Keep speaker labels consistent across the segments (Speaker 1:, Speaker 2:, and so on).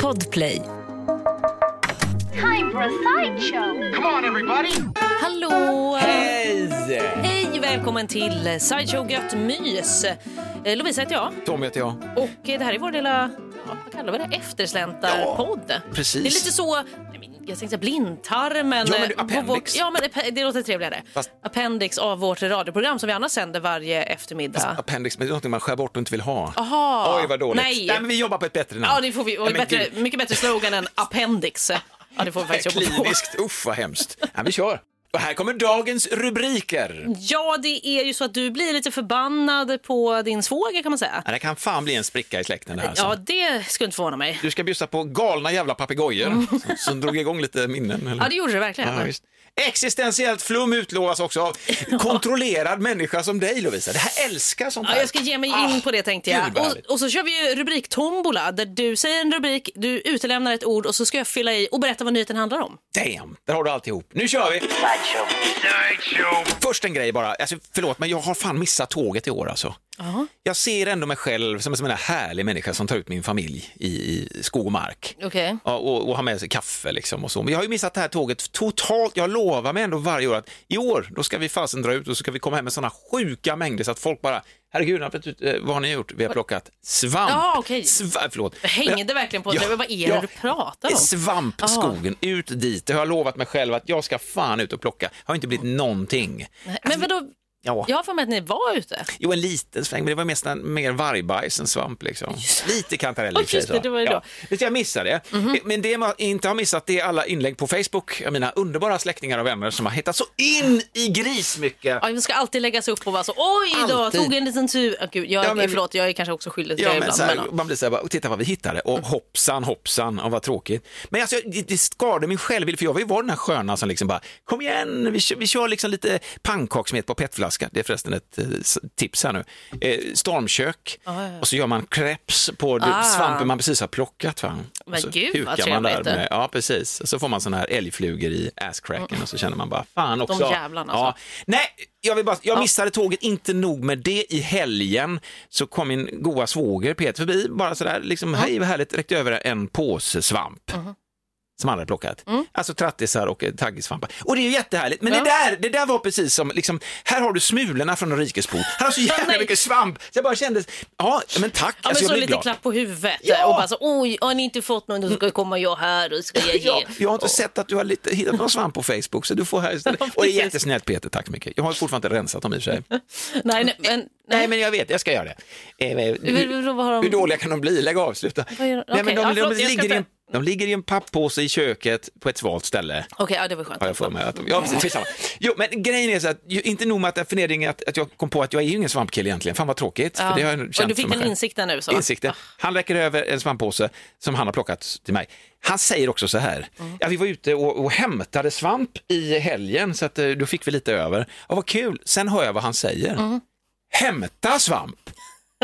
Speaker 1: Podplay.
Speaker 2: Time for a sideshow.
Speaker 3: Come on, everybody!
Speaker 1: Hallå!
Speaker 4: Hej!
Speaker 1: Hej! Välkommen till eh, Sideshow Gött Mys. Eh, Lovisa heter jag
Speaker 4: Tom heter jag.
Speaker 1: och eh, det här är vår lilla ja, vad kallar vi det? Eftersläntarpodd.
Speaker 4: precis.
Speaker 1: Det är lite så, nej, men jag tänkte säga blindtarmen.
Speaker 4: Ja, men
Speaker 1: eh,
Speaker 4: du,
Speaker 1: på
Speaker 4: appendix.
Speaker 1: vår- Ja, men det, det låter trevligare.
Speaker 4: Fast-
Speaker 1: Appendix av vårt radioprogram som vi annars sänder varje eftermiddag.
Speaker 4: Appendix, men det är någonting man skär bort och inte vill ha.
Speaker 1: Aha.
Speaker 4: Oj, vad dåligt.
Speaker 1: Nej.
Speaker 4: men vi jobbar på ett bättre namn.
Speaker 1: Ja, det får vi. Och
Speaker 4: Nej, men
Speaker 1: bättre,
Speaker 4: gud.
Speaker 1: mycket bättre slogan än appendix. Ja, det får vi faktiskt jobba på.
Speaker 4: Kliniskt, usch vad hemskt. Ja, vi kör. Och här kommer dagens rubriker.
Speaker 1: Ja, det är ju så att du blir lite förbannad på din svåger kan man säga.
Speaker 4: Ja, det kan fan bli en spricka i släkten det här.
Speaker 1: Ja,
Speaker 4: Alltså.
Speaker 1: det skulle inte förvåna mig.
Speaker 4: Du ska bjussa på galna jävla papegojor som, som drog igång lite minnen. Eller?
Speaker 1: Mm. Ja, det gjorde det verkligen.
Speaker 4: Ja, visst. Existentiellt flum utlovas också av kontrollerad människa som dig Lovisa. Det här älskar sånt
Speaker 1: Ja,
Speaker 4: här.
Speaker 1: jag ska ge mig in
Speaker 4: Ah,
Speaker 1: på det tänkte
Speaker 4: gud,
Speaker 1: jag.
Speaker 4: vad härligt.
Speaker 1: Och, och så kör vi ju rubriktombola där du säger en rubrik, du utelämnar ett ord och så ska jag fylla i och berätta vad nyheten handlar om.
Speaker 4: Damn, där har du alltihop. Nu kör vi! Först en grej bara, alltså, förlåt men jag har fan missat tåget i år alltså. Jag ser ändå mig själv som en sån här härlig människa som tar ut min familj i, i skog och mark.
Speaker 1: Okej.
Speaker 4: Ja, och, och har med sig kaffe liksom och så. Men jag har ju missat det här tåget totalt. Jag lovar mig ändå varje år att i år, då ska vi fasen dra ut och så ska vi komma hem med sådana sjuka mängder så att folk bara, herregud, har ni plockat ut- eh, vad har ni gjort? Vi har plockat svamp.
Speaker 1: Ja, okej.
Speaker 4: Sva- förlåt.
Speaker 1: Jag hängde verkligen på det. Vad är det du pratar om?
Speaker 4: Svamp,
Speaker 1: Aha.
Speaker 4: skogen, ut dit. Det har jag lovat mig själv att jag ska fan ut och plocka. Har inte blivit någonting.
Speaker 1: Men vadå,
Speaker 4: Ja.
Speaker 1: jag har för mig att ni var ute.
Speaker 4: Jo, en liten sväng, men det var mest en, mer vargbajs än svamp. Liksom. Lite kantareller
Speaker 1: Oj,
Speaker 4: i och för sig,
Speaker 1: just det,
Speaker 4: så.
Speaker 1: det var ju då. Mhm.
Speaker 4: Visst, jag missade det. Men det man inte har missat det är alla inlägg på Facebook. av Mina underbara släktingar och vänner som har hittat så in i gris mycket.
Speaker 1: Ja, de ska alltid lägga sig upp och vara så oj då,
Speaker 4: Alltid.
Speaker 1: tog en liten tur. Ah, gud, jag,
Speaker 4: Ja, men-
Speaker 1: Förlåt, jag är kanske också skyldig till
Speaker 4: Ja,
Speaker 1: det
Speaker 4: men
Speaker 1: ibland.
Speaker 4: så
Speaker 1: men,
Speaker 4: här,
Speaker 1: ja. Mm.
Speaker 4: man blir så här, bara, titta vad vi hittade och hoppsan, hoppsan, och vad tråkigt. Men alltså, det, det skadade min självbild för jag var ju var den här sköna som liksom bara, kom igen, vi kör, vi kör liksom lite pannkaksmet på petflaska. Det är förresten ett eh, s- tips här nu. Eh, stormkök och så gör man crepes på
Speaker 1: Ah.
Speaker 4: ah. svampen man precis har plockat. Va? Och
Speaker 1: Men
Speaker 4: så
Speaker 1: gud,
Speaker 4: hukar
Speaker 1: vad
Speaker 4: man där
Speaker 1: trevligt.
Speaker 4: med, Eh, Ja, precis. Och så får man sådana här älgflugor i asscracken och så känner man bara, fan också.
Speaker 1: jävlarna,
Speaker 4: Ja,
Speaker 1: alltså.
Speaker 4: Nej, jag, vill bara, jag missade tåget, inte nog med det. I helgen så kom min goa svåger Peter förbi, bara sådär, liksom, hej vad härligt, räckte över en påse svamp.
Speaker 1: Mhm.
Speaker 4: Som han hade plockat. Alltså trattisar och eh, taggisvampar. Och det är ju jättehärligt. Men
Speaker 1: Mm. Ja.
Speaker 4: det, där, det där var precis som, liksom, här har du smulorna från en rikesbord. Här har så
Speaker 1: nej.
Speaker 4: jävla mycket svamp. Så jag bara kände, ja men tack,
Speaker 1: Ja, men
Speaker 4: alltså,
Speaker 1: så
Speaker 4: jag
Speaker 1: lite
Speaker 4: blev glad.
Speaker 1: klapp på huvudet
Speaker 4: Ja!
Speaker 1: och bara så oj, har ni inte fått någon, då ska komma jag här och ska jag ge.
Speaker 4: Ja, jag har inte sett att du har lite, hittat någon svamp på Facebook så du får här istället. Och det är jättesnällt Peter, tack så mycket. Jag har fortfarande inte rensat dem i och för sig.
Speaker 1: Nej, nej, men, nej.
Speaker 4: Nej, men jag vet, jag ska göra det. Eh, men
Speaker 1: Hur- vad har de-
Speaker 4: hur, hur dåliga kan de bli? Lägg av, sluta.
Speaker 1: Vad gör de? Okej,
Speaker 4: Nej, men de,
Speaker 1: ja,
Speaker 4: de,
Speaker 1: förlåt, jag ska
Speaker 4: ligger i en,
Speaker 1: inte-
Speaker 4: de ligger i en papppåse i köket på ett svalt ställe.
Speaker 1: Okej, ja, det var skönt.
Speaker 4: Har jag för mig att de, ja, precis, skitsamma. jo, men grejen är så att, ju, inte nog med att den förnedringen att, att jag kom på att jag är ju ingen svampkille egentligen, fan vad tråkigt.
Speaker 1: Ja.
Speaker 4: För det har jag
Speaker 1: Och
Speaker 4: känt
Speaker 1: du
Speaker 4: för
Speaker 1: fick
Speaker 4: mig
Speaker 1: den
Speaker 4: själv.
Speaker 1: insikten nu? Så.
Speaker 4: Insikten. Han räcker över en svamppåse som han har plockat till mig. Han säger också så här,
Speaker 1: Mm.
Speaker 4: ja, vi var ute och, och hämtade svamp i helgen så att eh, då fick vi lite över. Ja, vad kul, sen hör jag vad han säger.
Speaker 1: Mm.
Speaker 4: Hämta svamp!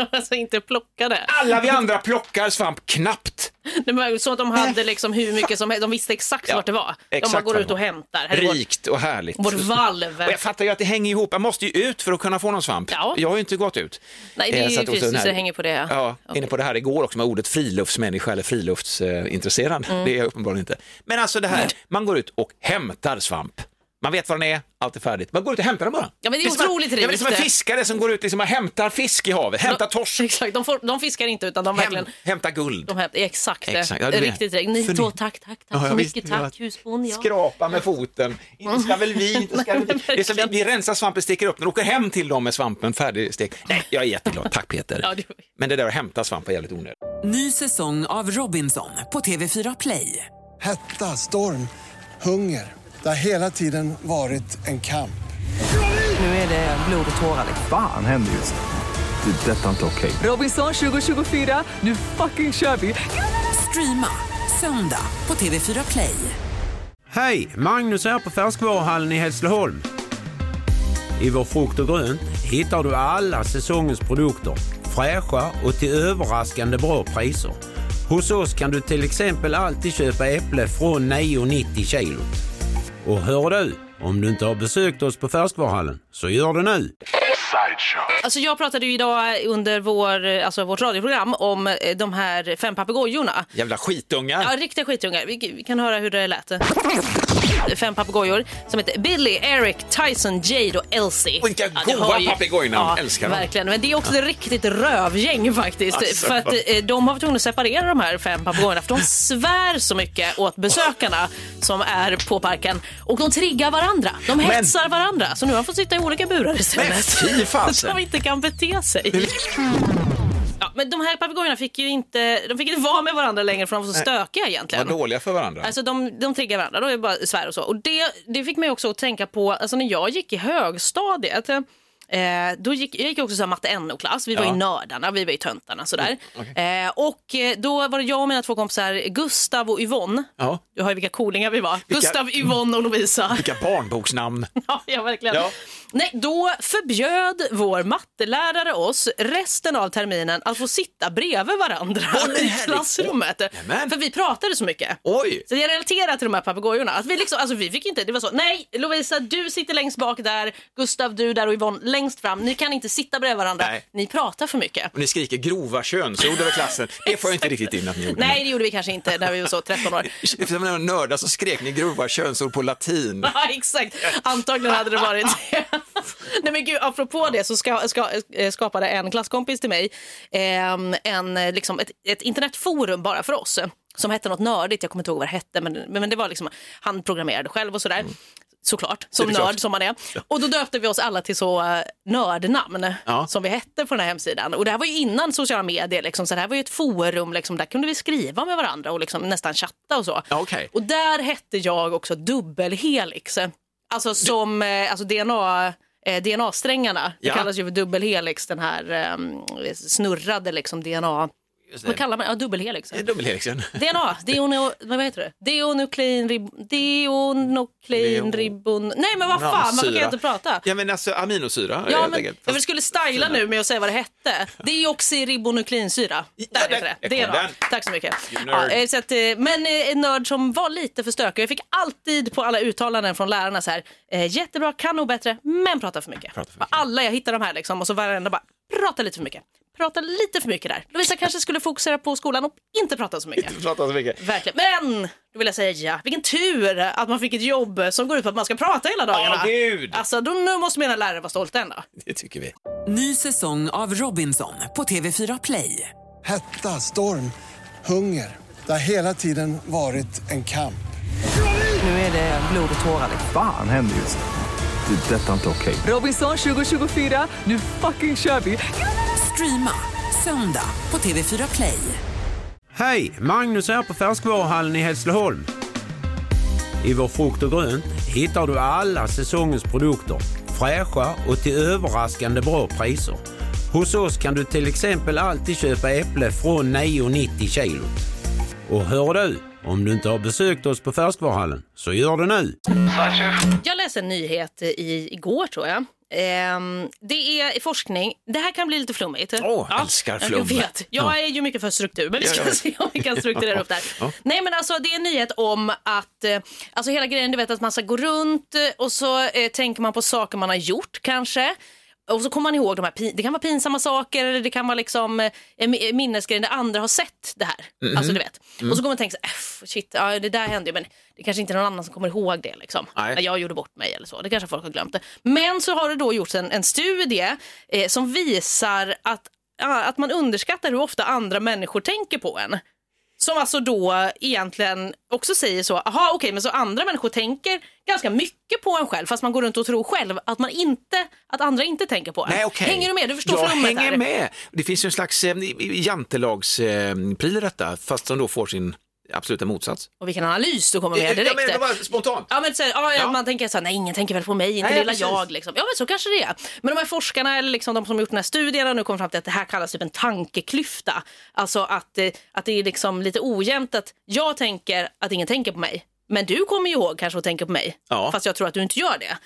Speaker 1: alltså inte plocka det.
Speaker 4: Alla vi andra plockar svamp knappt.
Speaker 1: Det var ju så att de hade liksom hur mycket som helst, de visste exakt
Speaker 4: Ja,
Speaker 1: vart det var. De bara
Speaker 4: exakt
Speaker 1: går
Speaker 4: vad
Speaker 1: ut
Speaker 4: det
Speaker 1: och
Speaker 4: var.
Speaker 1: hämtar. Här är vårt-
Speaker 4: Rikt och härligt.
Speaker 1: Vårt valv.
Speaker 4: Och jag fattar ju att det hänger ihop. Jag måste ju ut för att kunna få någon svamp.
Speaker 1: Ja.
Speaker 4: Jag har ju inte gått ut.
Speaker 1: Nej, det är
Speaker 4: Eh,
Speaker 1: ju
Speaker 4: så att också
Speaker 1: fysiskt,
Speaker 4: den här-
Speaker 1: det hänger på det. ja.
Speaker 4: Ja, inne på det här igår också med ordet friluftsmänniska eller friluftsintresserad.
Speaker 1: Mm.
Speaker 4: Det är jag uppenbarligen inte. Men alltså det här, man går ut och hämtar svamp. Man vet var den är, allt är färdigt. Man går ut och hämtar den bara.
Speaker 1: Ja, men det är
Speaker 4: som
Speaker 1: otroligt
Speaker 4: en, ja, men Det är som en
Speaker 1: rikt.
Speaker 4: fiskare som går ut liksom och hämtar fisk i havet, hämtar torsk,
Speaker 1: Exakt, de, får, de fiskar inte utan de
Speaker 4: häm,
Speaker 1: verkligen...
Speaker 4: hämtar guld.
Speaker 1: De hämtar, exakt,
Speaker 4: Exakt,
Speaker 1: det.
Speaker 4: ja, du vet.
Speaker 1: Riktigt rätt. Ni
Speaker 4: Förny-
Speaker 1: då, tack, tack, tack
Speaker 4: Ja,
Speaker 1: så
Speaker 4: ja,
Speaker 1: mycket.
Speaker 4: visst, ja.
Speaker 1: Tack, husbond. Ja.
Speaker 4: skrapa med foten. Inte ska väl vi, inte ska väl vi. Det är som vi, vi rensar svampen, steker upp den och åker hem till dem med svampen färdigstekt. Nej, jag är jätteglad. Tack
Speaker 1: Ja,
Speaker 4: Peter.
Speaker 1: det-
Speaker 4: Men det där att hämta svamp var jävligt onödigt.
Speaker 5: Ny säsong av Robinson på TV4 Play.
Speaker 6: Hetta, storm, hunger. Det har hela tiden varit en kamp.
Speaker 5: Nu är det blod och tårar. liksom.
Speaker 7: Fan händer just nu. Det. är Detta är inte okej.
Speaker 5: Robinson 2024, nu fucking kör vi! Streama söndag på TV4 Play.
Speaker 8: Hej! Magnus här på Färskvaruhallen i Hässleholm. I vår frukt och grönt hittar du alla säsongens produkter. Fräscha och till överraskande bra priser. Hos oss kan du till exempel alltid köpa äpple från 9,90 kilo. Och hör du, om du inte har besökt oss på Färskvaruhallen så gör det nu!
Speaker 3: Side
Speaker 1: Alltså jag pratade ju idag under vår, alltså vårt radioprogram om eh, de här fem papegojorna.
Speaker 4: Jävla skitungar.
Speaker 1: Ja, riktiga skitungar. Vi, vi kan höra hur det lät. Fem papegojor som heter Billy, Eric, Tyson, Jade och Elsie.
Speaker 4: Och vilka
Speaker 1: det
Speaker 4: goa
Speaker 1: har
Speaker 4: papegojnamn. Älskar dem.
Speaker 1: Verkligen, men det är också ett riktigt rövgäng faktiskt.
Speaker 4: Alltså.
Speaker 1: För att eh, de har varit tvungna att separera de här fem papegojorna för de svär så mycket åt besökarna som är på parken. Och de triggar varandra. De hetsar varandra. Så nu har de fått sitta i olika burar istället.
Speaker 4: Men fy fasen.
Speaker 1: Så de inte kan bete sig. Ja, men de här papegojorna fick ju inte, de fick inte vara med varandra längre för de var så stökiga egentligen.
Speaker 4: Vad dåliga för varandra.
Speaker 1: Alltså de, de triggar varandra, de är bara svär och så. Och det, det fick mig också att tänka på, alltså när jag gick i högstadiet, eh, då gick, jag gick också så här matte NO-klass, vi var
Speaker 4: Ja. Mm,
Speaker 1: ju nördarna, vi var ju töntarna sådär. Eh, och eh, då var det jag och mina två kompisar, Gustav och Yvonne.
Speaker 4: Ja.
Speaker 1: Du hör ju vilka coolingar vi var.
Speaker 4: Vilka-
Speaker 1: Gustav, Yvonne och Lovisa.
Speaker 4: Vilka barnboksnamn.
Speaker 1: Ja, ja verkligen.
Speaker 4: Ja.
Speaker 1: Nej, då förbjöd vår mattelärare oss resten av terminen att få sitta bredvid varandra
Speaker 4: Åh, men
Speaker 1: i
Speaker 4: herregud.
Speaker 1: klassrummet.
Speaker 4: Nämen.
Speaker 1: För vi pratade så mycket.
Speaker 4: Oj!
Speaker 1: Så jag relaterar till de här papegojorna. Att vi, liksom, alltså vi fick inte, det var så, nej Lovisa du sitter längst bak där, Gustav du där och Yvonne längst fram. Ni kan inte sitta bredvid varandra,
Speaker 4: Nej.
Speaker 1: ni pratar för mycket.
Speaker 4: Och ni skriker grova könsord över klassen. Det får jag inte riktigt in att ni gjorde.
Speaker 1: Nej det gjorde vi kanske inte när vi var så 13 år.
Speaker 4: Eftersom ni var nördar så skrek ni grova könsord på latin.
Speaker 1: Ja, exakt. Antagligen hade det varit det. Nej, men gud, apropå det så ska, ska, eh, skapade en klasskompis till mig ehm, en, eh, liksom ett, ett internetforum bara för oss som hette något nördigt. Jag kommer inte ihåg vad det hette, men, men det var liksom, han programmerade själv och sådär. Såklart, som
Speaker 4: Mm. Det är
Speaker 1: nörd
Speaker 4: klart.
Speaker 1: som man är. Och då döpte vi oss alla till så eh, nördnamn
Speaker 4: Ja.
Speaker 1: som vi hette på den här hemsidan. Och det här var ju innan sociala medier, liksom, så det här var ju ett forum, liksom, där kunde vi skriva med varandra och liksom nästan chatta och så.
Speaker 4: Ja, okej.
Speaker 1: Och där hette jag också dubbelhelix. Alltså som eh, alltså DNA, eh, DNA-strängarna. Det
Speaker 4: Ja.
Speaker 1: kallas ju för dubbelhelix, den här eh, snurrade liksom DNA. Vad kallar man ja, dubbelhelix?
Speaker 4: Det är Dubbelhelixen.
Speaker 1: DNA, deono, vad heter det? Deonuklein, rib, deonuklein,
Speaker 4: Leo-
Speaker 1: ribon... Nej men vad fan, varför kan jag inte prata?
Speaker 4: Ja, men alltså aminosyra.
Speaker 1: Ja,
Speaker 4: helt
Speaker 1: men
Speaker 4: enkelt.
Speaker 1: jag skulle styla nu med att säga vad det hette. Deoxyribonukleinsyra.
Speaker 4: Ja,
Speaker 1: Där heter
Speaker 4: där-
Speaker 1: det.
Speaker 4: där
Speaker 1: Det
Speaker 4: kom
Speaker 1: då.
Speaker 4: den.
Speaker 1: Tack så mycket.
Speaker 4: You
Speaker 1: Ja,
Speaker 4: nerd.
Speaker 1: eh, så att, eh, men eh, en nörd som var lite för stökig. Jag fick alltid på alla uttalanden från lärarna så här, eh, jättebra, kan nog bättre, men pratar för mycket.
Speaker 4: Pratar för
Speaker 1: Och Alla jag hittar de här liksom och så varenda bara, prata lite för mycket. Prata lite för mycket där. Lovisa kanske skulle fokusera på skolan och inte prata så mycket.
Speaker 4: Pratar så mycket.
Speaker 1: Verkligen. Men, då vill jag säga, vilken tur att man fick ett jobb som går ut på att man ska prata hela dagarna.
Speaker 4: Ja, gud.
Speaker 1: Alltså, då, nu måste mina lärare vara stolta ändå.
Speaker 4: Det tycker vi.
Speaker 5: Ny säsong av Robinson på TV4 Play.
Speaker 6: Hetta, storm, hunger. Det har hela tiden varit en kamp.
Speaker 5: Nu är det blod och tårar.
Speaker 7: Fan händer just nu. Det. är Detta är inte okej.
Speaker 5: Robinson 2024, nu fucking kör vi! Streama söndag på TV4 Play.
Speaker 8: Hej! Magnus här på Färskvaruhallen i Hässleholm. I vår frukt och grönt hittar du alla säsongens produkter fräscha och till överraskande bra priser. Hos oss kan du till exempel alltid köpa äpple från 9,90 kilot. Och hör du, om du inte har besökt oss på Färskvaruhallen så gör det nu!
Speaker 1: Jag läste en nyhet eh, i, igår tror jag. Ehm, det är forskning. Det här kan bli lite flummigt.
Speaker 4: Åh, älskar flum.
Speaker 1: Jag vet. Jag är ju mycket för struktur, men vi ska
Speaker 4: Ja, ja.
Speaker 1: se om vi kan strukturera upp det här.
Speaker 4: Ja.
Speaker 1: Nej, men alltså det är en nyhet om att, eh, alltså hela grejen, du vet att man ska gå runt eh, och så eh, tänker man på saker man har gjort kanske. Och så kommer man ihåg de här, pin- det kan vara pinsamma saker eller det kan vara liksom eh, mi- minnesgrejer där andra har sett det här.
Speaker 4: Mhm.
Speaker 1: Alltså du vet.
Speaker 4: Mm.
Speaker 1: Och så kommer man tänka så här, "Äff, shit, ja, det där hände ju men det kanske inte är någon annan som kommer ihåg det liksom.
Speaker 4: Nej.
Speaker 1: När jag gjorde bort mig eller så, det kanske folk har glömt det. Men så har det då gjorts en, en studie eh, som visar att, ja, att man underskattar hur ofta andra människor tänker på en. Som alltså då egentligen också säger så, aha okej men så andra människor tänker ganska mycket på en själv fast man går runt och tror själv att, man inte, att andra inte tänker på en.
Speaker 4: Nej, okej.
Speaker 1: Hänger du med? Du förstår
Speaker 4: Jag
Speaker 1: flummet
Speaker 4: hänger
Speaker 1: här.
Speaker 4: med. Det finns ju en slags eh, jantelagspryl eh, i detta, fast som då får sin absoluta motsats.
Speaker 1: Och vilken analys du kommer med direkt.
Speaker 4: Ja, men det var spontant.
Speaker 1: Ja, men så här, ja,
Speaker 4: Ja.
Speaker 1: Man tänker så här, nej ingen tänker väl på mig, inte
Speaker 4: Nej,
Speaker 1: lilla
Speaker 4: precis.
Speaker 1: jag. Liksom. Ja men så kanske det är. Men de här forskarna eller liksom, de som gjort den här studien har nu kommit fram till att det här kallas typ en tankeklyfta. Alltså att, eh, att det är liksom lite ojämnt att jag tänker att ingen tänker på mig. Men du kommer ju ihåg kanske att tänka på mig,
Speaker 4: Ja.
Speaker 1: fast jag tror att du inte gör det.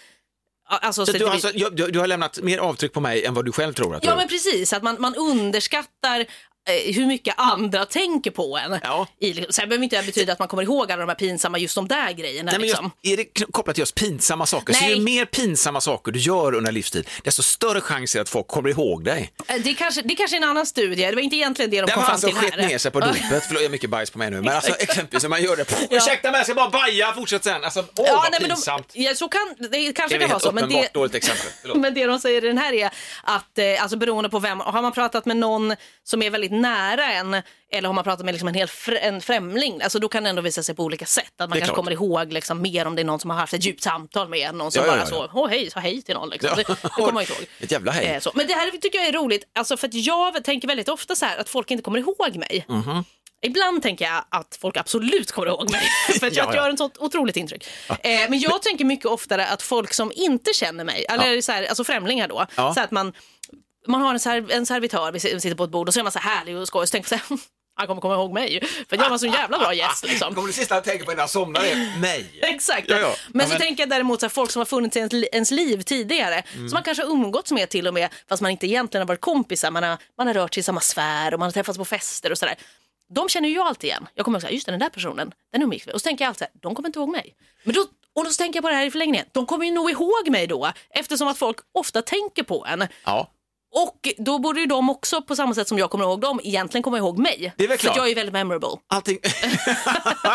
Speaker 1: Ja, Alltså,
Speaker 4: Så
Speaker 1: så
Speaker 4: du, har
Speaker 1: det-
Speaker 4: alltså, jag- du, du har lämnat mer avtryck på mig än vad du själv tror att du
Speaker 1: Ja men precis, att man, man underskattar eh, hur mycket andra tänker på en.
Speaker 4: Ja.
Speaker 1: I, liksom, sen behöver inte det betyda att man kommer ihåg alla de här pinsamma, just de där grejerna.
Speaker 4: Nej, men just,
Speaker 1: liksom.
Speaker 4: är det kn- kopplat till just pinsamma saker? Så
Speaker 1: Nej.
Speaker 4: ju mer pinsamma saker du gör under livstid, desto större chans är det att folk kommer ihåg dig.
Speaker 1: Eh, Det, kanske, det kanske är en annan studie, det var inte egentligen det de
Speaker 4: Det
Speaker 1: kom
Speaker 4: var
Speaker 1: fram
Speaker 4: han som
Speaker 1: till
Speaker 4: skett
Speaker 1: här.
Speaker 4: ner sig på dopet. Förlåt, jag har mycket bajs på mig nu. Men alltså, exempelvis när man gör det. Pff,
Speaker 1: Ja.
Speaker 4: Ursäkta mig, jag ska bara baja. Fortsätt sen. Alltså, åh,
Speaker 1: Ja,
Speaker 4: vad
Speaker 1: nej, men de,
Speaker 4: pinsamt.
Speaker 1: ja, så kan, det
Speaker 4: Det
Speaker 1: kanske kan
Speaker 4: är väl
Speaker 1: vara
Speaker 4: helt
Speaker 1: så, men
Speaker 4: uppenbart
Speaker 1: det,
Speaker 4: dåligt exempel. Förlåt.
Speaker 1: Men det de säger i den här är att eh, alltså beroende på vem, och har man pratat med någon som är väldigt nära en eller har man pratat med liksom en, hel fr- en främling, alltså då kan det ändå visa sig på olika sätt. Att man
Speaker 4: är
Speaker 1: kanske
Speaker 4: klart.
Speaker 1: kommer ihåg liksom, mer om det är någon som har haft ett djupt samtal med en, någon som
Speaker 4: Ja, ja,
Speaker 1: bara
Speaker 4: ja, ja.
Speaker 1: så, åh hej, sa hej till någon. Liksom.
Speaker 4: Ja.
Speaker 1: Det, det kommer man ju ihåg.
Speaker 4: Ett jävla hej.
Speaker 1: Eh, så. Men det här tycker jag är roligt, alltså, för att jag tänker väldigt ofta så här att folk inte kommer ihåg mig. Ibland tänker jag att folk absolut kommer ihåg mig, för att
Speaker 4: Ja,
Speaker 1: jag
Speaker 4: ja.
Speaker 1: gör en sånt otroligt intryck. Eh, men jag tänker mycket oftare att folk som inte känner mig, eller så här, alltså främlingar då,
Speaker 4: Ja.
Speaker 1: så att man, man har en, serv- en servitör, vi si- sitter på ett bord och så är man så här härlig och skojig, så tänker man så här, han kommer komma ihåg mig, för jag var en så jävla bra gäst. Liksom.
Speaker 4: Kommer det sista jag tänker på innan jag somnar är mig.
Speaker 1: Exakt.
Speaker 4: Ja, ja.
Speaker 1: Men
Speaker 4: Ja,
Speaker 1: så
Speaker 4: men-
Speaker 1: tänker jag däremot så här, folk som har funnits i ens, li- ens liv tidigare,
Speaker 4: Mm.
Speaker 1: som man kanske har umgåtts med till och med, fast man inte egentligen har varit kompisar, man har, man har rört sig i samma sfär och man har träffats på fester och sådär. De känner ju jag alltid igen. Jag kommer ihåg så här, just det, den där personen, den umgicks vi. Och så tänker jag alltid så här, de kommer inte ihåg mig. Men då, och då så tänker jag på det här i förlängningen, de kommer ju nog ihåg mig då, eftersom att folk ofta tänker på en.
Speaker 4: Ja.
Speaker 1: Och då borde ju de också, på samma sätt som jag kommer ihåg dem, egentligen komma ihåg mig.
Speaker 4: Det är väl
Speaker 1: För att
Speaker 4: klart.
Speaker 1: jag är ju väldigt memorable.
Speaker 4: Allting...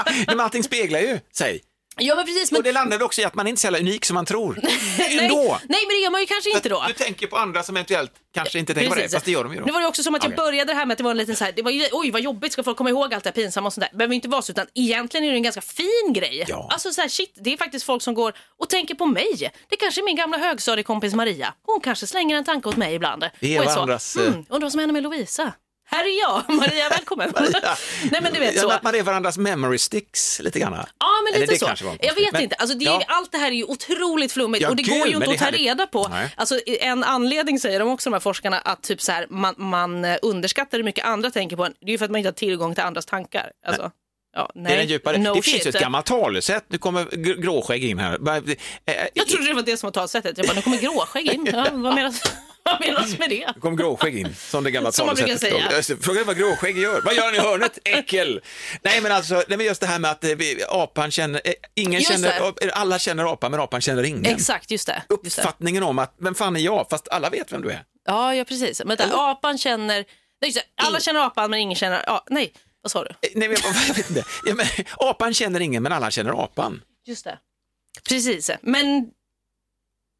Speaker 4: Nej, men allting speglar ju sig.
Speaker 1: Ja, men precis. Men...
Speaker 4: Och det landade också i att man inte är så jävla unik som man tror.
Speaker 1: nej,
Speaker 4: Ändå.
Speaker 1: nej, men det gör man ju kanske inte då.
Speaker 4: Du tänker på andra som eventuellt kanske inte tänker på det,
Speaker 1: Precis.
Speaker 4: fast det gör de ju då.
Speaker 1: Nu var det också som att jag
Speaker 4: Okej.
Speaker 1: började det här med att det var en liten så här, det var ju, oj vad jobbigt, ska folk komma ihåg allt det här pinsamma och sånt där. Behöver inte vara så, utan egentligen är det en ganska fin grej.
Speaker 4: Ja.
Speaker 1: Alltså så här, shit, det är faktiskt folk som går och tänker på mig. Det kanske är min gamla högstadiekompis Maria. Hon kanske slänger en tanke åt mig ibland.
Speaker 4: Vi är
Speaker 1: och
Speaker 4: varandras,
Speaker 1: så,
Speaker 4: eh,
Speaker 1: mm, undrar vad som händer med Lovisa? Här är jag, Maria, välkommen. Nej men du vet
Speaker 4: Ja,
Speaker 1: så. Ah,
Speaker 4: men Att man är varandras memory sticks lite grann.
Speaker 1: Ja, men
Speaker 4: Eller
Speaker 1: lite
Speaker 4: det
Speaker 1: så.
Speaker 4: kanske var en
Speaker 1: Jag
Speaker 4: konstig-
Speaker 1: vet
Speaker 4: men-
Speaker 1: inte. Alltså, det är,
Speaker 4: Ja.
Speaker 1: Allt det här är ju otroligt flummigt
Speaker 4: Ja,
Speaker 1: och det
Speaker 4: gud,
Speaker 1: går ju inte
Speaker 4: men det
Speaker 1: att ta
Speaker 4: här är-
Speaker 1: reda på.
Speaker 4: Nej.
Speaker 1: Alltså, en anledning säger de också, de här forskarna, att typ så här, man, man eh, underskattar hur mycket andra tänker på en. Det är ju för att man inte har tillgång till andras tankar. Alltså, ja, nej.
Speaker 4: det är den djupare.
Speaker 1: No
Speaker 4: det finns ju
Speaker 1: shit.
Speaker 4: ett gammalt talesätt, nu kommer gr- gråskägg in här. Bara, eh, eh,
Speaker 1: Jag trodde det var det som var talsättet. Jag bara, nu kommer gråskägg in. Ja, vad, menas, vad menas med det?
Speaker 4: Nu kom gråskägg in, som det gamla
Speaker 1: Som man brukar
Speaker 4: talesättet.
Speaker 1: säga.
Speaker 4: Just det, Frågan är vad gråskägg gör. Vad gör han i hörnet? Äckel! Nej men alltså, nej, men just det här med att eh, vi, apan känner, eh, ingen
Speaker 1: Just
Speaker 4: känner, alla känner apan men apan känner ingen.
Speaker 1: Exakt, just det. Just det.
Speaker 4: Uppfattningen om att, vem fan är jag? Fast alla vet vem du är. Eh,
Speaker 1: Ja, ja, precis. Men vänta, apan känner... Nej, just det. Alla känner apan, men ingen känner... Ja, nej, vad sa du?
Speaker 4: Eh, Nej, men, jag vet inte. Ja, men, apan känner ingen men alla känner apan.
Speaker 1: Just det. Precis, men...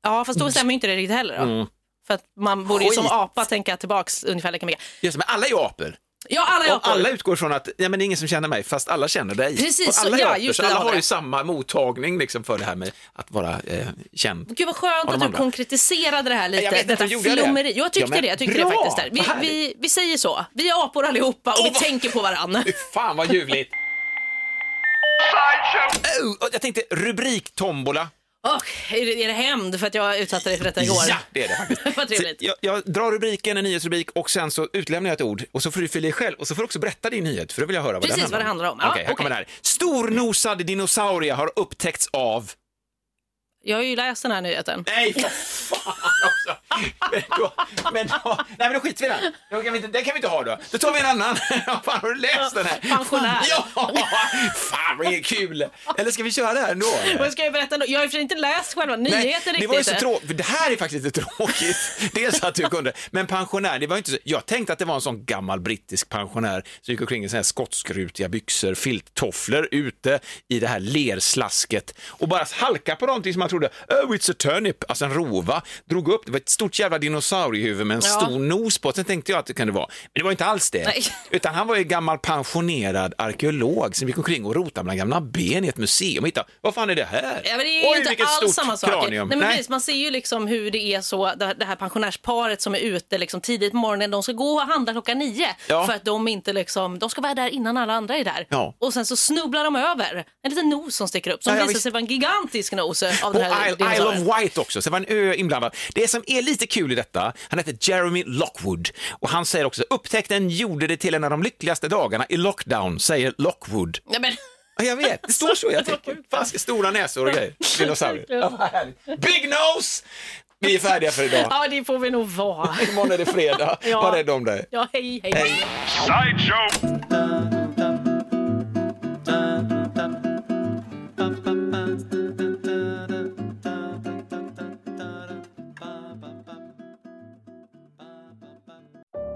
Speaker 1: Ja, fast då stämmer ju inte det riktigt heller. Då. För att man borde ju som
Speaker 4: Mm. Skit.
Speaker 1: apa tänka tillbaks ungefär lika mycket.
Speaker 4: Just det, men alla är ju apor.
Speaker 1: Ja, alla är
Speaker 4: Och
Speaker 1: apor.
Speaker 4: alla utgår från att ja, men det är ingen som känner mig, fast alla känner dig.
Speaker 1: Precis,
Speaker 4: och alla
Speaker 1: så-
Speaker 4: är
Speaker 1: ja,
Speaker 4: apor,
Speaker 1: just
Speaker 4: så
Speaker 1: det,
Speaker 4: alla
Speaker 1: där var
Speaker 4: har ju
Speaker 1: det.
Speaker 4: samma mottagning liksom, för det här med att vara eh, känd.
Speaker 1: Gud vad skönt
Speaker 4: Ja, de
Speaker 1: att du
Speaker 4: andra.
Speaker 1: konkretiserade det här lite.
Speaker 4: Jag vet inte,
Speaker 1: detta
Speaker 4: gjorde jag det?
Speaker 1: flummeri. Jag tyckte
Speaker 4: Ja, men
Speaker 1: det. Jag tyckte
Speaker 4: bra,
Speaker 1: det faktiskt. Där.
Speaker 4: vad
Speaker 1: Vi,
Speaker 4: härligt.
Speaker 1: vi, vi säger så. Vi är apor allihopa och vi tänker på varandra.
Speaker 4: Fy Fan vad ljuvligt! Oh, och jag tänkte rubriktombola.
Speaker 1: Och, är, det, är det hämnd för att jag utsatte dig för detta igår?
Speaker 4: Ja, det är det faktiskt.
Speaker 1: vad trevligt.
Speaker 4: Så Jag, jag drar rubriken, en nyhetsrubrik och sen så utlämnar jag ett ord och så får du fylla i själv och så får du också berätta din nyhet för då vill jag höra vad
Speaker 1: Precis,
Speaker 4: den
Speaker 1: vad det handlar om. Ja,
Speaker 4: Okej, här kommer det
Speaker 1: okej.
Speaker 4: här. Stornosad dinosaurie har upptäckts av
Speaker 1: Jag har ju läst den här nyheten.
Speaker 4: Nej, för fan också! Men då, men då, nej, men då skiter vi i den. Då kan vi inte, den kan vi inte ha då. Då tar vi en annan. Ja, fan, har du läst den här?
Speaker 1: Pensionär.
Speaker 4: Ja, fan vad det är kul! Eller ska vi köra det här ändå? eller?
Speaker 1: Vad ska jag berätta då? Jag har i och för sig inte läst själva nyheten riktigt.
Speaker 4: det var ju så tråkigt. Det här är faktiskt lite tråkigt. Dels att du kunde, men pensionär, det var ju inte så. Jag tänkte att det var en sån gammal brittisk pensionär som gick omkring i såna här skotskrutiga byxor, filttofflor ute i det här lerslasket och bara halka på någonting som man trodde, oh it's a turnip, alltså en rova, drog upp, det var ett stort jävla dinosauriehuvud med en
Speaker 1: Ja.
Speaker 4: stor nos på, sen tänkte jag att det kunde vara, men det var inte alls det.
Speaker 1: Nej.
Speaker 4: Utan han var ju gammal pensionerad arkeolog som gick omkring och rotade bland gamla ben i ett museum och hittade, vad fan är det här?
Speaker 1: Ja, men det är ju inte
Speaker 4: vilket
Speaker 1: alls
Speaker 4: stort
Speaker 1: samma sak.
Speaker 4: Kranium.
Speaker 1: Nej, men Precis, man ser ju liksom hur det är så, det det här pensionärsparet som är ute liksom tidigt på morgonen, de ska gå och handla klockan nio
Speaker 4: Ja.
Speaker 1: för att de inte liksom, de ska vara där innan alla andra är där.
Speaker 4: Ja.
Speaker 1: Och sen så snubblar de över en liten nos som sticker upp som
Speaker 4: Ja, ja,
Speaker 1: visar
Speaker 4: visst.
Speaker 1: sig vara en gigantisk nos av
Speaker 4: på
Speaker 1: den här
Speaker 4: Isle, Isle
Speaker 1: dinosaurien.
Speaker 4: of Wight också, så det var en ö inblandad. Det som är lite kul i detta, han heter Jeremy Lockwood och han säger också upptäckten gjorde det till en av de lyckligaste dagarna i lockdown, säger Lockwood.
Speaker 1: Nej, men,
Speaker 4: Ja, jag vet, det står så jag tänker. Fast stora näsor och grejer, dinosaurier. Ja, vad härligt. Big nose! Vi är färdiga för idag.
Speaker 1: Ja, det får vi nog vara.
Speaker 4: Imorgon är det fredag.
Speaker 1: Ja.
Speaker 4: Var rädd om dig.
Speaker 1: Ja, hej, hej. hej.